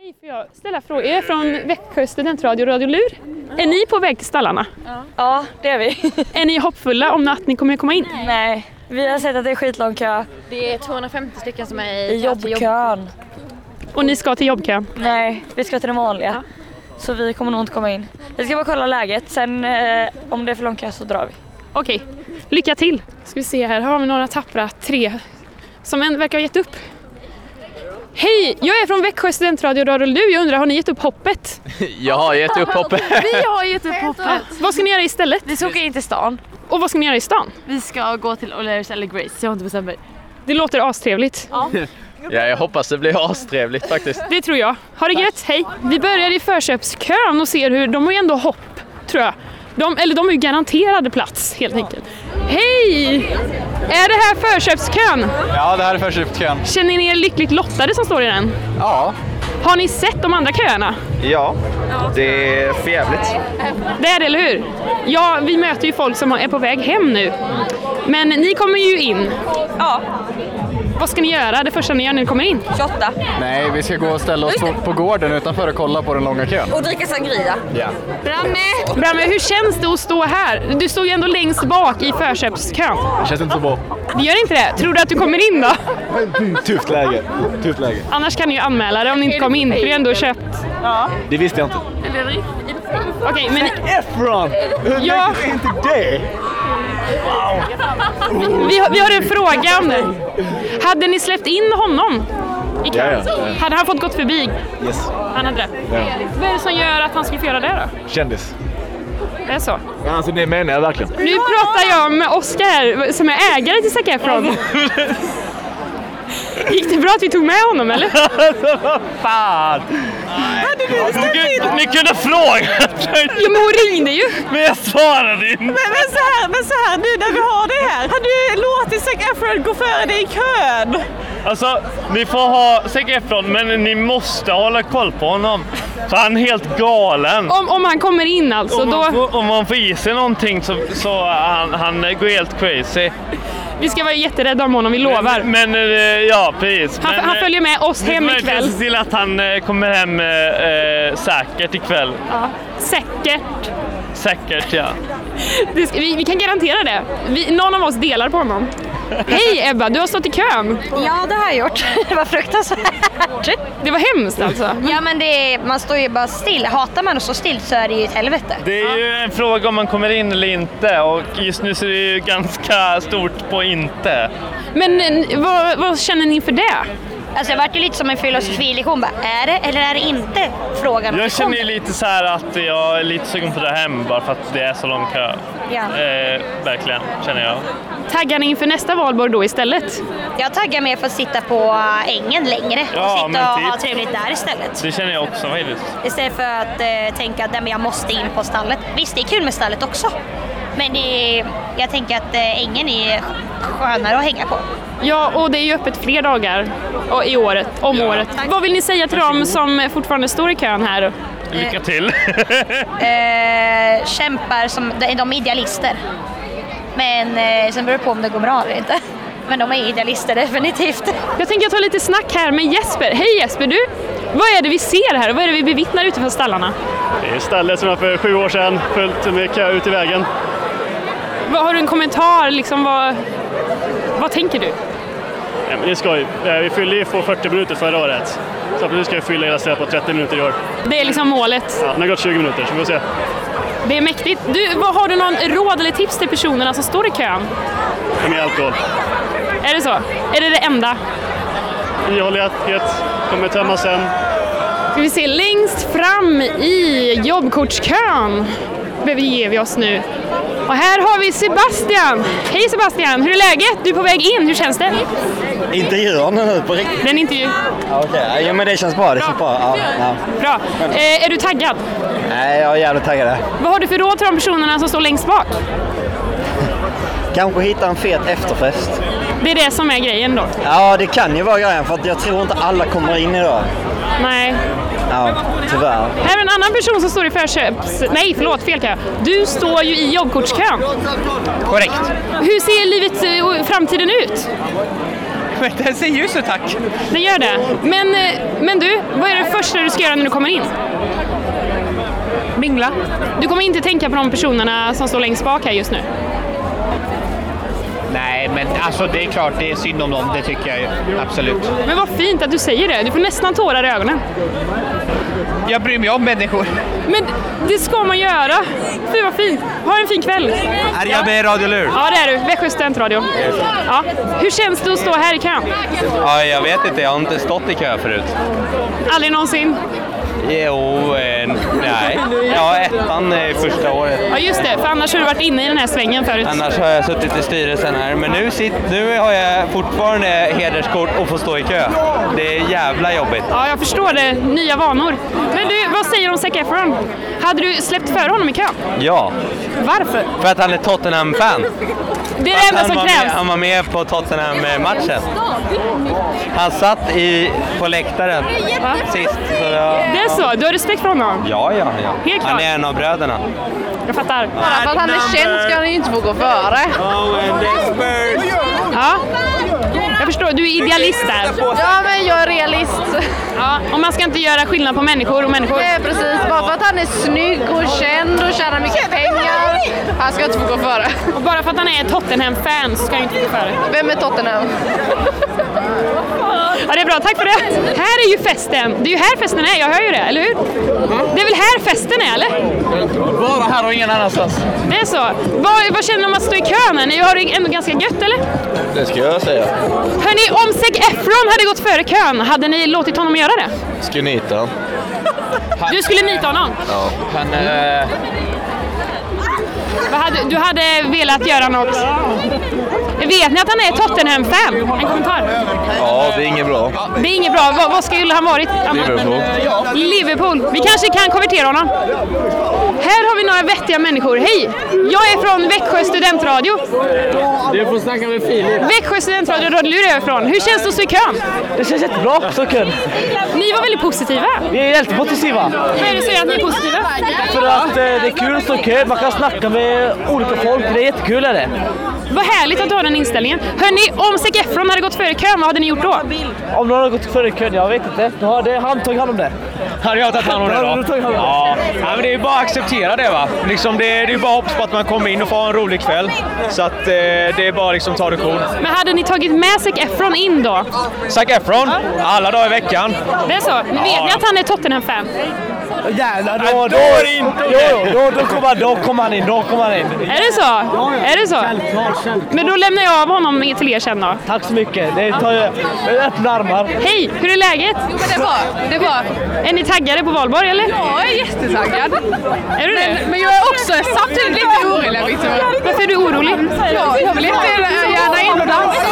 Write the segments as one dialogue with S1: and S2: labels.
S1: Hej, får jag ställa frågor? Jag är från Växjö studentradio Radio Lur. Är ni på väg till stallarna?
S2: Ja, det är vi.
S1: Är ni hoppfulla om att ni kommer komma in?
S2: Nej, vi har sett att det är skitlång kö.
S3: Det är 250 stycken som är i
S2: I jobbkön.
S1: Och ni ska till jobbkön?
S2: Nej, vi ska till den vanliga. Så vi kommer nog inte komma in. Vi ska bara kolla läget, sen eh, om det är för lång kö så drar vi.
S1: Okej, lycka till! Ska vi se här, här har vi några tappra tre som en verkar ha gett upp. Hej, jag är från Växjö studentradio Radio Lur. Jag undrar, har ni gett upp hoppet?
S4: Jag har gett upp hoppet.
S5: Vi har gett upp hoppet.
S1: Vad ska ni göra istället?
S5: Vi ska åka in till stan.
S1: Och vad ska ni göra i stan?
S5: Vi ska gå till O'Learys eller Grace, jag har inte bestämt mig.
S1: Det låter astrevligt.
S4: Ja, jag hoppas det blir astrevligt faktiskt.
S1: Det tror jag. Ha det gött, hej! Vi börjar i förköpskön och ser hur, de har ju ändå hopp, tror jag. De, eller de är ju garanterade plats helt enkelt. Hej! Är det här förköpskön?
S4: Ja, det här är förköpskön.
S1: Känner ni er lyckligt lottade som står i den?
S4: Ja.
S1: Har ni sett de andra köerna?
S4: Ja, det är förjävligt.
S1: Det är det, eller hur? Ja, vi möter ju folk som är på väg hem nu. Men ni kommer ju in.
S2: Ja,
S1: Vad ska ni göra det första ni gör när ni kommer in?
S2: 28.
S6: Nej, vi ska gå och ställa oss på, på gården utanför och kolla på den långa kön.
S2: Och dricka sangria.
S6: Ja.
S1: Bramme, hur känns det att stå här? Du står ju ändå längst bak i förköpskön.
S6: Det känns inte så bra.
S1: Det gör inte det? Tror du att du kommer in då?
S6: Tufft läge. Tufft läge.
S1: Annars kan ni ju anmäla det om ni inte kom in, för det är ändå köpt.
S6: Det visste jag inte.
S1: Okej, men
S6: Efron! Hur
S1: Ja.
S6: är inte det?
S1: vi, har- vi har en fråga om det. Hade ni släppt in honom? I kön?
S6: Ja, ja,
S1: Hade han fått gått förbi?
S6: Yes.
S1: Han hade det.
S6: Ja.
S1: Vad är det som gör att han skulle få göra det då?
S6: Kändis.
S1: Det är så.
S6: Alltså det menar jag verkligen.
S1: Nu pratar jag med Oskar som är ägare till Zac Efron. Gick det bra att vi tog med honom eller?
S6: Fan! Hade du ställt Ni kunde frågat mig,
S1: Jo men hon ringde ju!
S6: men jag svarade inte.
S7: Men så här, men så här nu när vi har det här. Har du låtit Zac Efron gå före dig i kön?
S8: Alltså, ni får ha Zac Efron, men ni måste hålla koll på honom. För han är helt galen.
S1: Om, om han kommer in alltså,
S8: om, man
S1: då...
S8: får, om man får i sig någonting så, så han, han går helt crazy.
S1: Vi ska vara jätterädda om honom, vi
S8: Men,
S1: lovar.
S8: men, eh, ja, precis.
S1: Han,
S8: men,
S1: han
S8: eh,
S1: följer med oss
S8: vi
S1: hem
S8: kommer
S1: ikväll.
S8: se till att han eh, kommer hem eh, eh, säkert ikväll.
S1: Säkert.
S8: Säkert, ja.
S1: Det ska, vi, vi kan garantera det. Vi, någon av oss delar på honom. Hej Ebba, du har stått i kön.
S2: Ja, det har jag gjort. Det var fruktansvärt.
S1: Det var hemskt alltså.
S2: Ja, men det är, man står ju bara still. Hatar man att stå still så är det ju ett helvete.
S8: Det är ju en fråga om man kommer in eller inte och just nu så är det ju ganska stort på inte.
S1: Men eh, vad, vad känner ni för det?
S2: Alltså det vart ju lite som en filosofilektion. Bara, är det eller är det inte frågan om
S8: Jag
S2: det
S8: känner
S2: kommer?
S8: ju lite så här att jag är lite sugen på att dra hem bara för att det är så lång kö.
S2: Ja.
S8: Eh, verkligen, känner jag.
S1: Taggar ni inför nästa valborg då istället?
S2: Jag taggar mer för att sitta på äh, ängen längre
S8: Ja,
S2: och
S8: men
S2: sitta och ha
S8: typ.
S2: trevligt där istället.
S8: Det känner jag också faktiskt.
S2: Istället för att eh, tänka att "Nej, men jag måste in på stallet. Visst, det är kul med stallet också. Men det, jag tänker att eh, ängen är skönare att hänga på.
S1: Ja, och det är ju öppet fler dagar och i året, om året. Vad vill ni säga till dem som fortfarande står i kön här?
S8: Lycka till!
S2: Eh, kämpar som de, de är idealister. Men eh, sen beror det på om det går bra eller inte. Men de är idealister definitivt.
S1: Jag tänker ta lite snack här med Jesper. Hej Jesper, du! Vad är det vi ser här? Vad är det vi bevittnar utanför stallarna?
S8: det är stället som jag för sju år sedan fullt med kö ut i vägen.
S1: Vad, har du en kommentar? Liksom, vad, vad tänker du?
S8: Ja, men det är skoj. Eh, Vi fyllde ju på 40 minuter förra året. Så nu ska jag fylla hela stället på 30 minuter i år.
S1: Det är liksom målet.
S8: Ja, nu har det gått 20 minuter så vi får se.
S1: Det är mäktigt. Du, vad, har du någon råd eller tips till personerna som står i kön?
S8: Ta med alkohol.
S1: Är det så? Är det det enda?
S8: Ihållighet kommer tömmas sen.
S1: Ska vi se, längst fram i jobbkortskön beger vi oss nu. Och här har vi Sebastian. Hej Sebastian, hur är läget? Du är på väg in, hur känns det?
S9: Intervjuar ni nu på riktigt?
S1: Den intervju.
S9: Okej, ja men det känns bra. Det känns bra. Ja, ja.
S1: Bra. Eh, är du taggad?
S9: Nej, jag är jävligt taggad.
S1: Vad har du för råd till de personerna som står längst bak?
S9: Kanske hitta en fet efterfest.
S1: Det är det som är grejen då.
S9: Ja, det kan ju vara grejen för att jag tror inte alla kommer in idag.
S1: Nej.
S9: Ja, tyvärr.
S1: Här är en annan person som står i förköps... Nej, förlåt, fel kö. Du står ju i jobbkortskön.
S9: Korrekt.
S1: Hur ser livet eh, och framtiden ut?
S10: Men den ser ljus ut tack.
S1: Den gör det. Men, eh, men du, vad är det första du ska göra när du kommer in? Mingla. Du kommer inte tänka på de personerna som står längst bak här just nu?
S10: Nej, men alltså det är klart det är synd om dem, det tycker jag ju. Absolut.
S1: Men vad fint att du säger det, du får nästan tårar i ögonen.
S10: Jag bryr mig om människor.
S1: Men det ska man göra! Fy vad fint! Ha en fin kväll!
S10: Är jag med i Radio Lur?
S1: Ja det är du, Växjö studentradio. Ja. Hur känns det att stå här i kön?
S11: Ja, jag vet inte, jag har inte stått i kö förut.
S1: Aldrig någonsin?
S11: Jo, eh, nej. Ja, ettan är första året.
S1: Ja just det, för annars har du varit inne i den här svängen förut.
S11: Annars har jag suttit i styrelsen här, men nu, sitt, nu har jag fortfarande hederskort och får stå i kö. Det är jävla jobbigt.
S1: Ja, jag förstår det. Nya vanor. Men du, vad säger du om Zac Efron? Hade du släppt före honom i kön?
S11: Ja,
S1: Varför?
S11: för att han är Tottenham-fan.
S1: Det är
S11: Att
S1: det enda
S11: han
S1: som
S11: var Med,
S1: krävs.
S11: han var med på Tottenham-matchen. Han satt i, på läktaren sist. Så det,
S1: Det är så, du har respekt för honom?
S11: Ja, ja, ja.
S1: Helt
S11: Han
S1: klart.
S11: är en av bröderna.
S1: Jag fattar.
S5: Bara för att han är känd ska han ju inte få gå före.
S1: Ja. Jag förstår, du är idealist där.
S5: Ja men jag är realist.
S1: Ja, och man ska inte göra skillnad på människor och människor.
S5: Nej precis, bara för att han är snygg och känd och tjänar mycket pengar. Han ska inte få gå före.
S1: Och bara för att han är ett Tottenham-fan så ska han inte gå före.
S5: Vem är Tottenham?
S1: Ja, det är bra, tack för det. Här är ju festen. Det är ju här festen är, jag hör ju det, eller hur?
S11: Mm.
S1: Det är väl här festen är, eller?
S4: Bara här och ingen annanstans.
S1: Det är så. Vad, vad känner du om att stå i kön här? Ni har det ändå ganska gött, eller?
S12: Det ska jag säga.
S1: Hörni, om Zac Efron hade gått före kön, hade ni låtit honom göra det?
S12: Ska nita han.
S1: Du skulle nita honom?
S12: Ja.
S4: Han, eh,
S1: Vad hade, du hade velat göra något? Vet ni att han är Tottenham-fan? En kommentar.
S12: ja, det är inget bra.
S1: Det är inget bra. Vad, vad skulle han varit? annars?
S12: Liverpool.
S1: Liverpool. Vi kanske kan konvertera honom. Här har vi några vettiga människor. Hej! Jag är från Växjö studentradio.
S13: Du får snacka med Filip.
S1: Växjö studentradio Radio Luleå är jag ifrån. Hur känns det att stå i kön?
S13: Det känns jättebra, så kul.
S1: Ni var väldigt positiva.
S13: Vi är helt positiva.
S1: Vad är det som gör att ni är positiva?
S13: För att eh, det är kul att stå i kö, man kan snacka med olika folk, det är jättekul är det.
S1: Vad härligt att du har den inställningen. Hörni, om Zac Efron hade gått före kön, vad hade ni gjort då?
S13: Om någon har gått före i kön, jag vet inte. Då har det, han tagit hand om det.
S10: Hade jag tagit hand om det
S13: Hade du
S10: då?
S13: tagit hand om det?
S10: Ja. ja, men det är ju bara att acceptera det va. Liksom det, det är ju bara att hoppas på att man kommer in och får ha en rolig kväll. Så att eh, det är bara liksom ta det cool.
S1: Men hade ni tagit med Zac Efron in då?
S10: Zac Efron, alla dagar i veckan.
S1: Det är så? Ni vet
S10: Ja.
S1: ni att han är Tottenham-fan?
S13: Jävlar, då,
S10: Nej,
S13: då,
S10: då är det inte
S13: jo,
S10: det.
S13: jo, då, då kommer han då kommer han in. Då kommer han in.
S1: Är det så? Är det så? Men då lämnar jag av honom till er sen då.
S13: Tack så mycket. Det tar jag med öppna armar.
S1: Hej, hur är läget? Jo,
S5: men det är bra. Det är bra.
S1: Är ni taggade på valborg eller?
S5: Ja, jag är jättetaggad.
S1: Är du det?
S5: Men jag är också samtidigt lite orolig. Liksom.
S1: Varför är du orolig?
S5: Ja, jag vill inte eh, gärna in och dansa.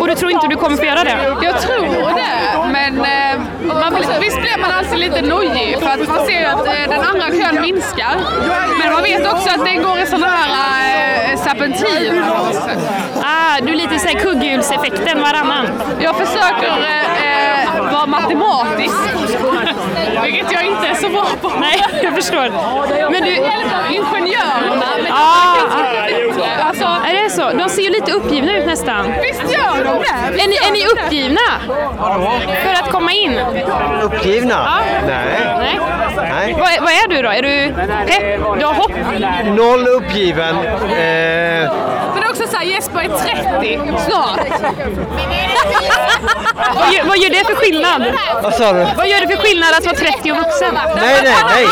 S1: Och du tror inte du kommer få göra det?
S14: Jag tror det, men eh, man blir, visst blir man alltid lite nojig för att man ser ju att eh, den andra kön minskar. Men man vet också att den går i sådana här eh, serpentiner.
S1: Ah, du är lite såhär kugghjulseffekten varannan.
S14: Jag försöker eh, eh, vara matematisk, vilket jag inte är så bra på.
S1: Nej, jag förstår. Men du...
S14: Ingenjörerna, men
S1: Ah,
S14: jag
S1: ah.
S14: är inte bättre. Alltså,
S1: Är det så? De ser ju lite uppgivna ut nästan.
S14: Visst gör de det? Visst
S1: Är ni,
S14: gör
S1: är ni
S14: de det?
S1: uppgivna? För att komma in?
S15: Uppgivna?
S1: Ja.
S15: Nej.
S1: Nej.
S15: Nej.
S1: Vad, är- vad är du då? Är du pepp? Du har hopp?
S15: Noll uppgiven. Eh,
S14: Men det är också såhär, Jesper är 30 snart.
S1: Vad gör, vad gör det för skillnad?
S15: vad sa du?
S1: Vad gör det för skillnad att vara 30 och vuxen?
S15: Nej, nej, nej.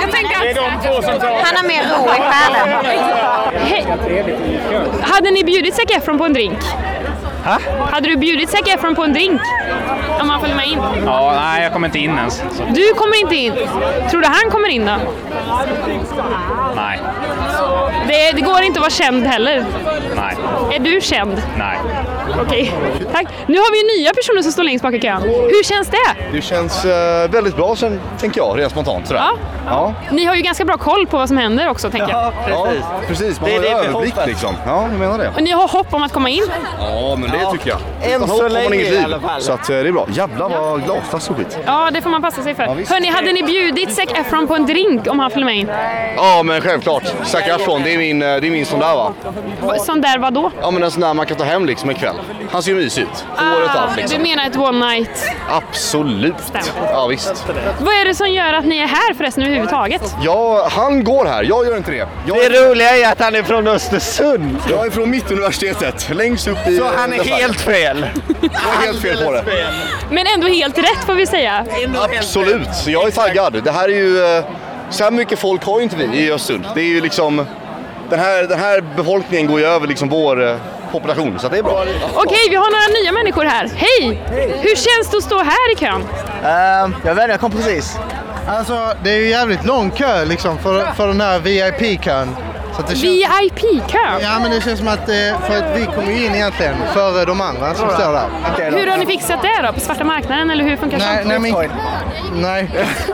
S14: Jag tänker att... Det är de två som
S2: Han har mer ro i själen.
S1: Hej. Hade ni bjudit Zac Efron på en drink?
S10: Ha?
S1: Hade du bjudit Zac Efron på en drink? Om han följer med in?
S10: Ja, nej jag kommer inte in ens. Så.
S1: Du kommer inte in. Tror du han kommer in då?
S10: Nej,
S1: Det, det går inte att vara känd heller.
S10: nej,
S1: Är du känd?
S10: nej.
S1: Okej, tack. Nu har vi ju nya personer som står längst bak i kön. Hur känns det?
S12: Det känns eh, väldigt bra sen, tänker jag, rent spontant sådär.
S1: Ja.
S12: Ja.
S1: Ni har ju ganska bra koll på vad som händer också, tänker jag.
S12: Precis. Ja, precis. Man
S15: Det är
S12: har
S15: det vi
S12: överblick
S15: hoppas.
S12: liksom. Ja, jag menar det.
S1: Och ni har hopp om att komma in?
S12: Ja, men det tycker jag.
S15: Än
S12: Utan
S15: så
S12: hopp har man
S15: länge
S12: inget
S15: i
S12: liv.
S15: alla fall.
S12: Så att, eh, det är bra. Jävlar vad glasflask och skit.
S1: Ja, det får man passa sig för. Hörni, hade ni bjudit Zac Efron på en drink om han följer med in?
S12: Ja, men självklart. Zac Efron, det är min, eh, det är min sån där va.
S1: Sån där vad då?
S12: Ja, men en sån där man kan ta hem liksom en kväll.
S13: Han ser ju mysig ut. Håret
S16: Ah,
S13: och allt
S1: Ah, Du
S13: liksom.
S1: menar ett one night?
S13: Absolut. Ja, visst.
S1: Vad är det som gör att ni är här förresten överhuvudtaget?
S13: Ja, han går här. Jag gör inte det. Jag...
S16: Det roliga är att han är från Östersund.
S13: Jag är från Mittuniversitetet, längst upp i...
S16: Så han är helt
S13: fel? Jag är helt fel på det.
S1: Men ändå helt rätt får vi säga.
S13: Absolut, så jag är taggad. Det här är ju... eh, Så här mycket folk har ju inte vi i Östersund. Det är ju liksom... Den här, den här befolkningen går ju över liksom vår eh, population, så att det är bra.
S1: Okej, vi har några nya människor här. Hej! Hur känns det att stå här i kön?
S14: Ehm, jag vet inte, jag kom precis. Alltså, det är ju jävligt lång kö liksom för, för den här VIP-kön.
S1: VIP-kön?
S14: Ja, men det känns som att, eh, för att vi kommer ju in egentligen före de andra som står där.
S1: Hur har ni fixat det då? På svarta marknaden eller hur funkar
S14: Nej,
S1: sånt?
S14: nej, min, nej,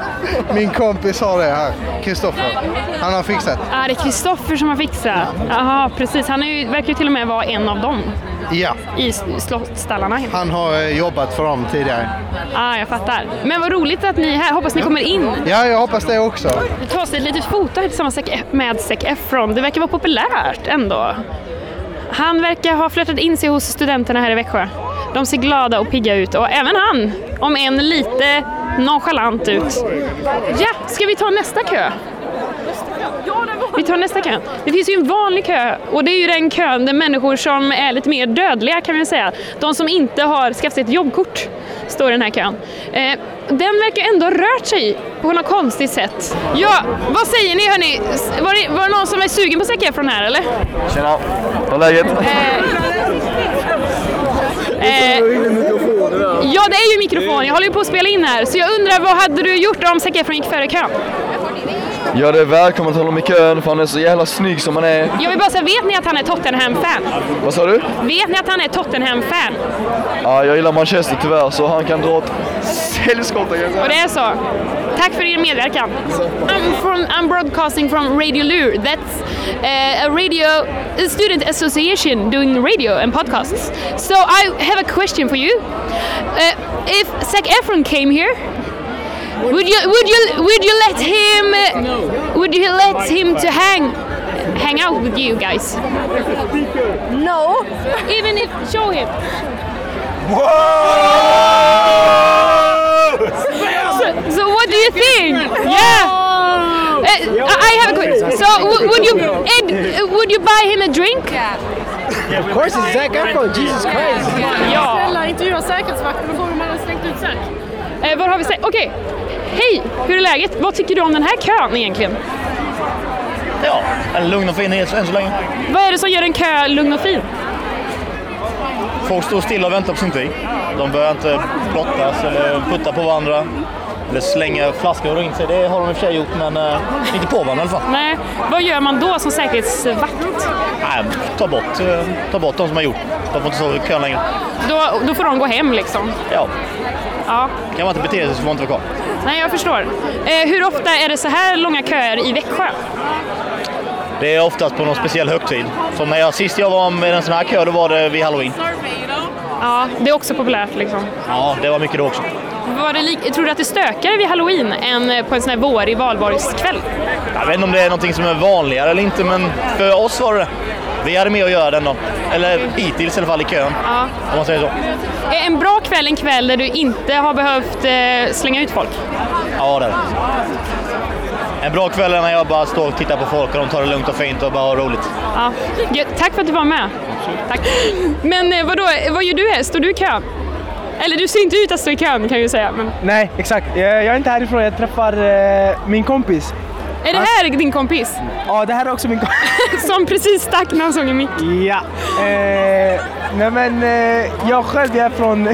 S14: min kompis har det här, Kristoffer. Han har fixat.
S1: Ja, det är Kristoffer som har fixat. Jaha, precis. Han är ju, verkar ju till och med vara en av dem
S14: Ja,
S1: i s- slottstallarna.
S14: han har eh, jobbat för dem tidigare.
S1: Ja, jag fattar. Men vad roligt att ni är här. Hoppas ni kommer in.
S14: Ja, jag hoppas det också.
S1: Vi tar oss ett litet foto här tillsammans med Zac Efron. Det verkar vara populärt ändå. Han verkar ha flörtat in sig hos studenterna här i Växjö. De ser glada och pigga ut och även han, om än lite nonchalant ut. Ja, ska vi ta nästa kö? Vi tar nästa kö. Det finns ju en vanlig kö och det är ju den kön där människor som är lite mer dödliga kan vi säga, de som inte har skaffat sig ett jobbkort, står i den här kön. Eh, den verkar ändå ha rört sig på något konstigt sätt. Ja, vad säger ni hörni? S- Var det, var det någon som är sugen på Zac Efron här eller?
S16: Tjena, hur är läget?
S1: Eh, ja, det är ju mikrofon. Jag håller ju på att spela in här. Så jag undrar, vad hade du gjort om Zac Efron gick före kön?
S17: Ja det är välkommen till honom i kön för han är så jävla snygg som han är.
S1: Jag vill bara säga, vet ni att han är Tottenham-fan?
S17: Vad sa du?
S1: Vet ni att han är Tottenham-fan?
S17: Ja, jag gillar Manchester tyvärr så han kan dra åt helskotta kan jag säga.
S1: Och det är så. Tack för er medverkan. I'm, from, I'm broadcasting from Radio Lur. That's eh, a radio a student association doing radio and podcasts. So I have a question for you. Eh, if Zac Efron came here, would you would you would you let him eh, would you let him to hang hang out with you guys? No. Even if show him. So, so what do you think? Yeah. Uh, I I have a question. So w- would you Ed, uh, would you buy him a drink?
S16: Of course it's Zac Efron, oh, Jesus Christ.
S1: Snälla, intervjua säkerhetsvakten och fråga om han har slängt ut Zac. Eh, vad har vi sagt? Okej. Hej, hur är läget? Vad tycker du om den här kön egentligen?
S11: Ja, en lugn och fin än så länge.
S1: Vad är det som gör en kö lugn och fin?
S11: Folk står stilla och väntar på sin tid. De börjar inte brottas eller putta på varandra. Eller slänga flaskor runt sig. Det har de i och för sig gjort, men eh, inte på varandra i alla fall.
S1: Nej, vad gör man då som säkerhetsvakt?
S11: Nej, ta bort, eh, ta bort de som har gjort. De får inte stå i kön längre.
S1: Då, då får de gå hem liksom.
S11: Ja.
S1: Ja.
S11: Kan man inte bete sig så får man inte vara kvar.
S1: Nej, jag förstår. Eh, hur ofta är det så här långa köer i Växjö?
S11: Det är oftast på någon speciell högtid. Som när jag, sist jag var med en sån här kö, då var det vid halloween.
S1: Ja, det är också populärt liksom.
S11: Ja, det var mycket då också.
S1: Var det lik- tror du att det stökar vid halloween än eh, på en sån här vårig valborgskväll?
S11: Jag vet inte om det är någonting som är vanligare eller inte, men för oss var det det. Vi hade med att göra den då. Eller hittills i alla fall i kön.
S1: Ja.
S11: Om man säger så.
S1: Är Eh, en bra kväll en kväll där du inte har behövt eh, slänga ut folk?
S11: Ja, det är det. En bra kväll är när jag bara står och tittar på folk och de tar det lugnt och fint och bara har roligt.
S1: Ja. Gött. Tack för att du var med. Tack. Men eh, vadå, vad gör du här? Står du i kön? Eller du ser inte ut att stå i kön kan jag ju säga. Men...
S18: Nej, exakt. Jag jag är inte härifrån, jag träffar eh, min kompis.
S1: Är det här din kompis?
S18: Ja, det här är också min kompis.
S1: Som precis stack när han såg en mick.
S18: Ja. Eh, nej men, eh, jag själv jag är från...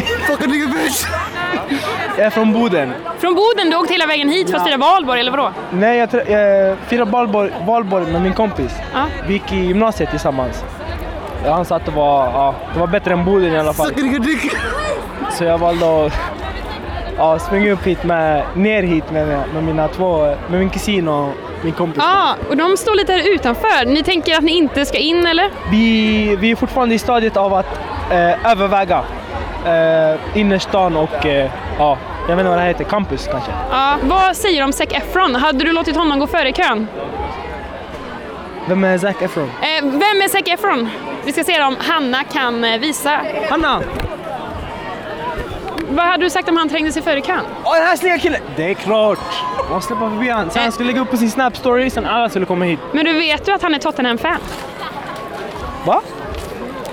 S18: jag är från Boden.
S1: Från Boden, du åkte hela vägen hit för att
S18: Ja.
S1: fira valborg eller vadå?
S18: Nej, jag trä- eh, firade valborg, valborg med min kompis.
S1: Ja.
S18: Vi gick i gymnasiet tillsammans. Ja, Han sa att det var, ja, det var bättre än Boden i alla fall. Så jag valde att ja, springa upp hit med, ner hit med, med mina två, med min kusin och min kompis.
S1: Ja, och de står lite här utanför. Ni tänker att ni inte ska in eller?
S18: Vi, vi är fortfarande i stadiet av att eh, överväga eh, innerstan och eh, ja, jag vet inte vad det här heter, campus kanske.
S1: Ja, vad säger du om Zac Efron? Hade du låtit honom gå före i kön?
S18: Vem är Zac Efron?
S1: Eh, vem är Zac Efron? Vi ska se om Hanna kan eh, visa. Hanna! Vad hade du sagt om han trängde sig före i kön?
S18: Åh, den här snygga killen! Det är klart! Man släpper förbi han. Sen han skulle lägga upp på sin Snap-story, sen alla skulle komma hit.
S1: Men du vet ju att han är Tottenham-fan.
S18: Va?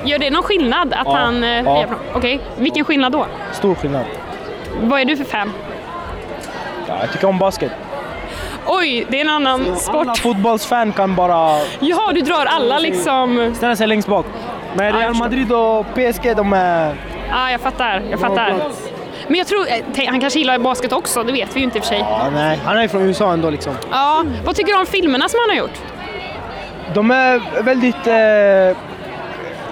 S1: Gör det någon skillnad att
S18: Ja,
S1: han... eh,
S18: ja.
S1: hejar på dem? Okej, vilken skillnad då?
S18: Stor skillnad.
S1: Vad är du för fan?
S18: Ja, jag tycker om basket.
S1: Oj, det är en annan
S18: Alla
S1: sport.
S18: fotbollsfan kan bara...
S1: Ja, du drar alla liksom...
S18: Ställa sig längst bak. Men Real Madrid och PSG, de är...
S1: Ja, Ah, jag fattar. Jag fattar. Men jag tror... eh, tänk- Han kanske gillar basket också, det vet vi ju inte i och för sig.
S18: Ja, nej, han är ju från USA ändå liksom.
S1: Ja, vad tycker du om filmerna som han har gjort?
S18: De är väldigt... Eh,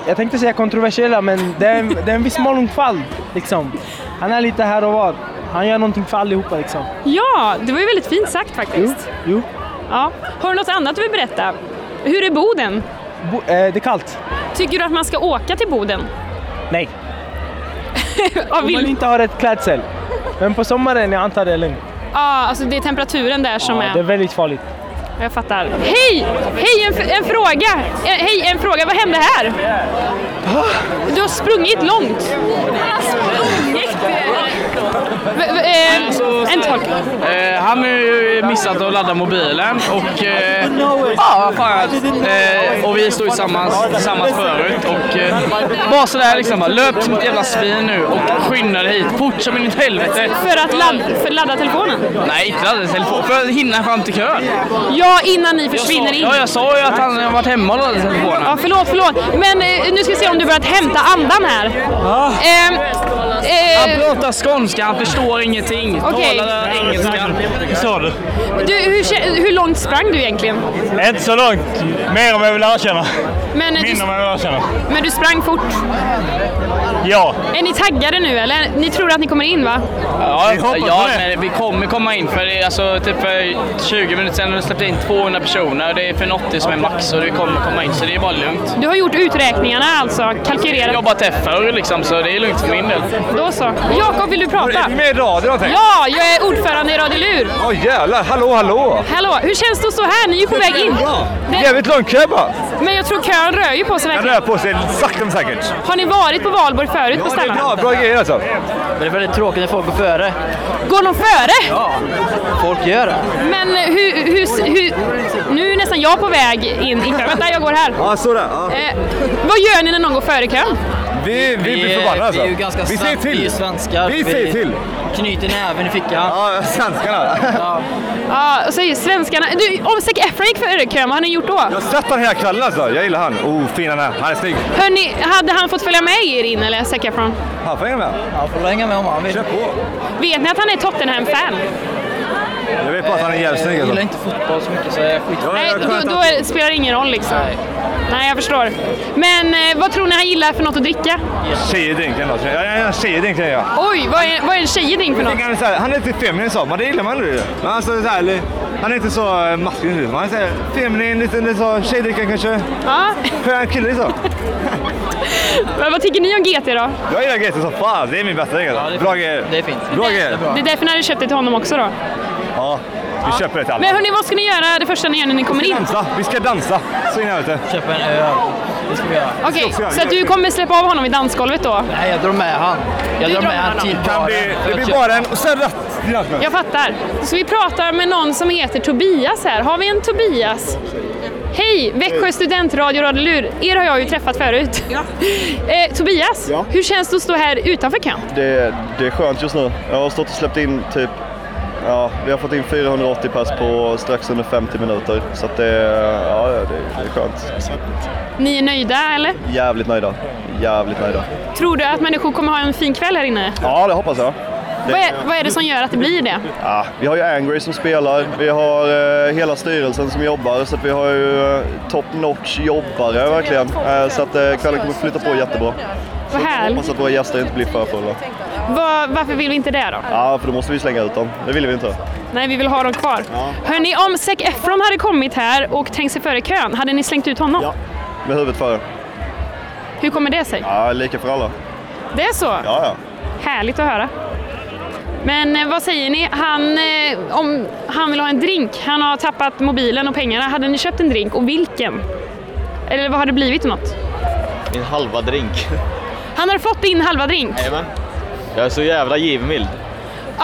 S18: jag tänkte säga kontroversiella, men det är en, det är en viss mångfald liksom. Han är lite här och var. Han gör någonting för allihopa liksom.
S1: Ja, det var ju väldigt fint sagt faktiskt.
S18: Jo.
S1: Ja. Har du något annat du vill berätta? Hur är Boden?
S18: Bo, eh, det är kallt.
S1: Tycker du att man ska åka till Boden?
S18: Nej.
S1: Av
S18: Om
S1: vill...
S18: man inte har rätt klädsel. Men på sommaren, jag antar det är lugnt.
S1: Ja, alltså det är temperaturen där som
S18: Ja,
S1: är...
S18: det är väldigt farligt.
S1: Jag fattar. Hej! Hej, en, f- en fråga! Eh, hej, en fråga. Vad hände här? Du har sprungit långt. V- v- eh, En tolk.
S4: Eh, han har ju missat att ladda mobilen och... Eh, ja, fan, eh, och vi stod tillsammans, tillsammans förut och... Eh, bara sådär liksom, bara, löp som ett jävla svin nu och skynda dig hit fort som in i helvete.
S1: För att ladd- för ladda telefonen?
S4: Nej, inte ladda telefon. För att hinna fram till kön.
S1: Ja, innan ni försvinner in.
S4: Ja, jag sa ju att han har varit hemma och laddat telefonen.
S1: Ja, förlåt, förlåt. Men eh, nu ska vi se om du börjat hämta andan här. Ehm,
S4: Han
S1: eh,
S4: pratar skånska, han förstår ingenting.
S1: Okej.
S4: Talar engelska.
S6: Vad sa du?
S1: du, hur, kä- hur långt sprang du egentligen?
S6: Inte så långt. Mer om jag vill erkänna.
S1: Men, eh,
S6: Mindre om jag vill erkänna.
S1: Men du sprang fort.
S6: Ja.
S1: Är ni taggade nu eller? Ni tror att ni kommer in va?
S4: Ja,
S1: Vi hoppas
S4: ja
S1: på det.
S4: men vi kommer komma in för det är alltså typ för 20 minuter sedan släppte in 200 personer. Det är för 80 som är max och vi kommer komma in så det är bara lugnt.
S1: Du har gjort uträkningarna alltså,
S4: Jag har
S1: kalkylerat.
S4: jobbat här förr liksom så det är lugnt för min del.
S1: Då så. Jakob, vill du prata?
S4: med i radio någonting?
S1: Ja, jag är ordförande i Radio Lur.
S13: Åh jävlar, hallå hallå!
S1: Hallå, hur känns det att stå här? Ni är ju på väg in. Det,
S13: Jävligt lång kö bara!
S1: men jag tror kön rör ju på sig
S13: Den
S1: verkligen.
S13: rör på sig sakta men säkert.
S1: Har ni varit på valborg förut på Ställan?
S13: Ja, bra grejer alltså. Men det är väldigt tråkigt när folk går före.
S1: Går de före?
S13: Folk gör det.
S1: Men eh, hur, hur, hur... Nu är nästan jag på väg in i kön. Vänta, jag går här.
S13: Ja, så där. Ja.
S1: Eh, vad gör ni när någon går före i kön?
S13: Vi, vi
S19: Vi
S13: blir
S19: är-
S13: förbannade alltså.
S19: vi är ju ganska
S13: vi säger
S19: snabb- vi är ju
S13: till.
S19: svenskar.
S13: Vi
S19: Vi-
S13: säger till.
S19: Knyter näven i fickan. Ja,
S13: svenskarna.
S1: Ja, och så är svenskarna... Du, om Zac Efron gick före i kön, vad har ni gjort då?
S13: Jag har sett honom hela kvällen alltså. Jag gillar han. Oh, fin han är. Han är snygg.
S1: Hörni, hade han fått följa med er in eller Zac Efron?
S13: Han får hänga med. Han får hänga med om han vill. Kör på.
S1: Vet ni att han är Tottenham-fan? Eh,
S13: Jag vet bara att han är jävligt snygg alltså. Jag gillar inte fotboll så mycket så jag skiter
S1: Nej, då, då är- spelar det ingen roll liksom. Nej, jag förstår. Men eh, vad tror ni han gillar för något att dricka?
S13: Tjejdrinken alltså. Jag är en tjejdrink jag.
S1: Oj, vad är, vad är en tjejgäng för något?
S13: Han är, så här, han är lite feminin så, men det gillar man ju. Men alltså, så här, han är inte så eh, maskulin liksom. Han är så här, feminin, lite, lite så tjejdricka kanske.
S1: Ja.
S13: Skön kille liksom.
S1: Men vad tycker ni om GT då?
S13: Jag gillar GT som fan. Det är min bästa drink alltså. Bra grejer. Det är fint. Bra grejer.
S1: Det är därför ni hade köpt det till honom också då.
S13: Ja, vi köper det till alla.
S1: Men hörni, vad ska ni göra det första ni gör när ni kommer
S13: Vi ska
S1: in?
S13: dansa. Vi ska dansa. Så in i helvete. Köpa en öl. Det ska vi göra.
S1: Okej, så att du kommer släppa av honom i dansgolvet då?
S19: Nej, jag drar med han. Jag drar med typ han till
S13: Kan bli, det blir bara en och sen rätt till dansgolvet.
S1: Jag fattar. Så vi pratar med någon som heter Tobias här. Har vi en Tobias? Hej! Växjö studentradio Radelur. Er har jag ju träffat förut. Eh, Tobias, hur känns det att stå här utanför kön?
S20: Det, det är skönt just nu. Jag har stått och släppt in typ, ja, vi har fått in 480 pass på strax under 50 minuter. Så att det, ja, det, det är skönt.
S1: Ni är nöjda eller?
S20: Jävligt nöjda. Jävligt nöjda.
S1: Tror du att människor kommer ha en fin kväll här inne?
S20: Ja, det hoppas jag. Det-
S1: Vad, är, vad är det som gör att det blir det?
S20: Ja, vi har ju Angry som spelar, vi har eh, hela styrelsen som jobbar, så att vi har ju eh, top notch jobbare verkligen. Eh, så att eh, kvällen kommer flytta på jättebra.
S1: Vad
S20: Jag hoppas
S1: härligt.
S20: att våra gäster inte blir för fulla.
S1: Vad- varför vill vi inte det då?
S20: Ja, för då måste vi slänga ut dem. Det vill vi inte.
S1: Nej, vi vill ha dem kvar. Hörni, om Zac Efron hade kommit här och trängt sig före kön, hade ni slängt ut honom?
S20: Med huvudet före.
S1: Hur kommer det sig?
S20: Ja, lika för alla.
S1: Det är så?
S20: Ja, ja.
S1: Härligt att höra. Men eh, vad säger ni? Han, eh, om han vill ha en drink. Han har tappat mobilen och pengarna. Hade ni köpt en drink och vilken? Eller vad har det blivit för något?
S18: Min halva drink.
S1: Han hade fått in halva drink.
S18: Jajamän. Jag är så jävla givmild.
S1: Ah.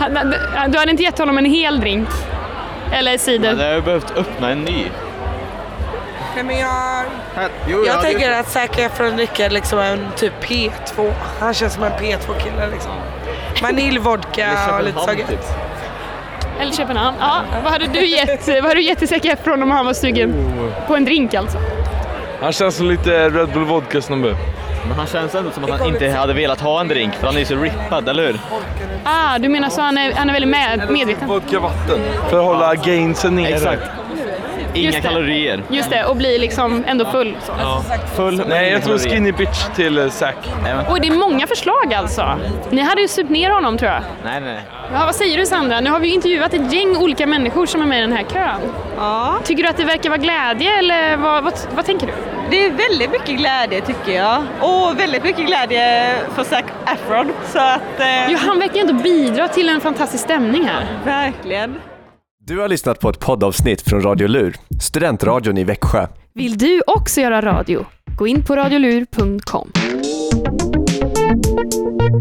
S1: Han- han- Du hade inte gett honom en hel drink? Eller cider?
S18: Jag har behövt öppna en ny.
S14: Nej, men jag
S18: jo, ja,
S14: jag
S18: det-
S14: tänker att Zac Efron dricker liksom en typ P2. Han känns som en P2-kille liksom. Vaniljvodka och lite saker.
S1: Eller Köpenhamn. Ja, vad hade du gett, vad hade du gett till Zac Efron om han var sugen på en drink alltså?
S18: Han känns som lite Red Bull Vodka-snubbe. Men han känns ändå som att han inte hade velat ha en drink, för han är ju så rippad, eller hur?
S1: Ah, du menar så han är, han är väldigt med, medveten?
S18: Vodka vatten.
S21: För att hålla gainsen nere.
S18: Exakt.
S1: Just
S18: Inga
S1: det.
S18: kalorier.
S1: Just det, och blir liksom ändå full. Så.
S21: Full Nej, jag tror skinny bitch till eh, Zac.
S1: Och det är många förslag alltså. Ni hade ju supit ner honom tror jag.
S18: Nej, nej, nej.
S1: Ja, vad säger du Sandra? Nu har vi ju intervjuat ett gäng olika människor som är med i den här kön. Tycker du att det verkar vara glädje eller vad, vad, vad tänker du?
S14: Det är väldigt mycket glädje tycker jag. Och väldigt mycket glädje för Zac Efron. Så att... Eh,
S1: Jo, han verkar ju ändå bidra till en fantastisk stämning här.
S14: Verkligen.
S22: Du har lyssnat på ett poddavsnitt från Radio Lur, studentradion i Växjö.
S1: Vill du också göra radio? Gå in på radiolur.com.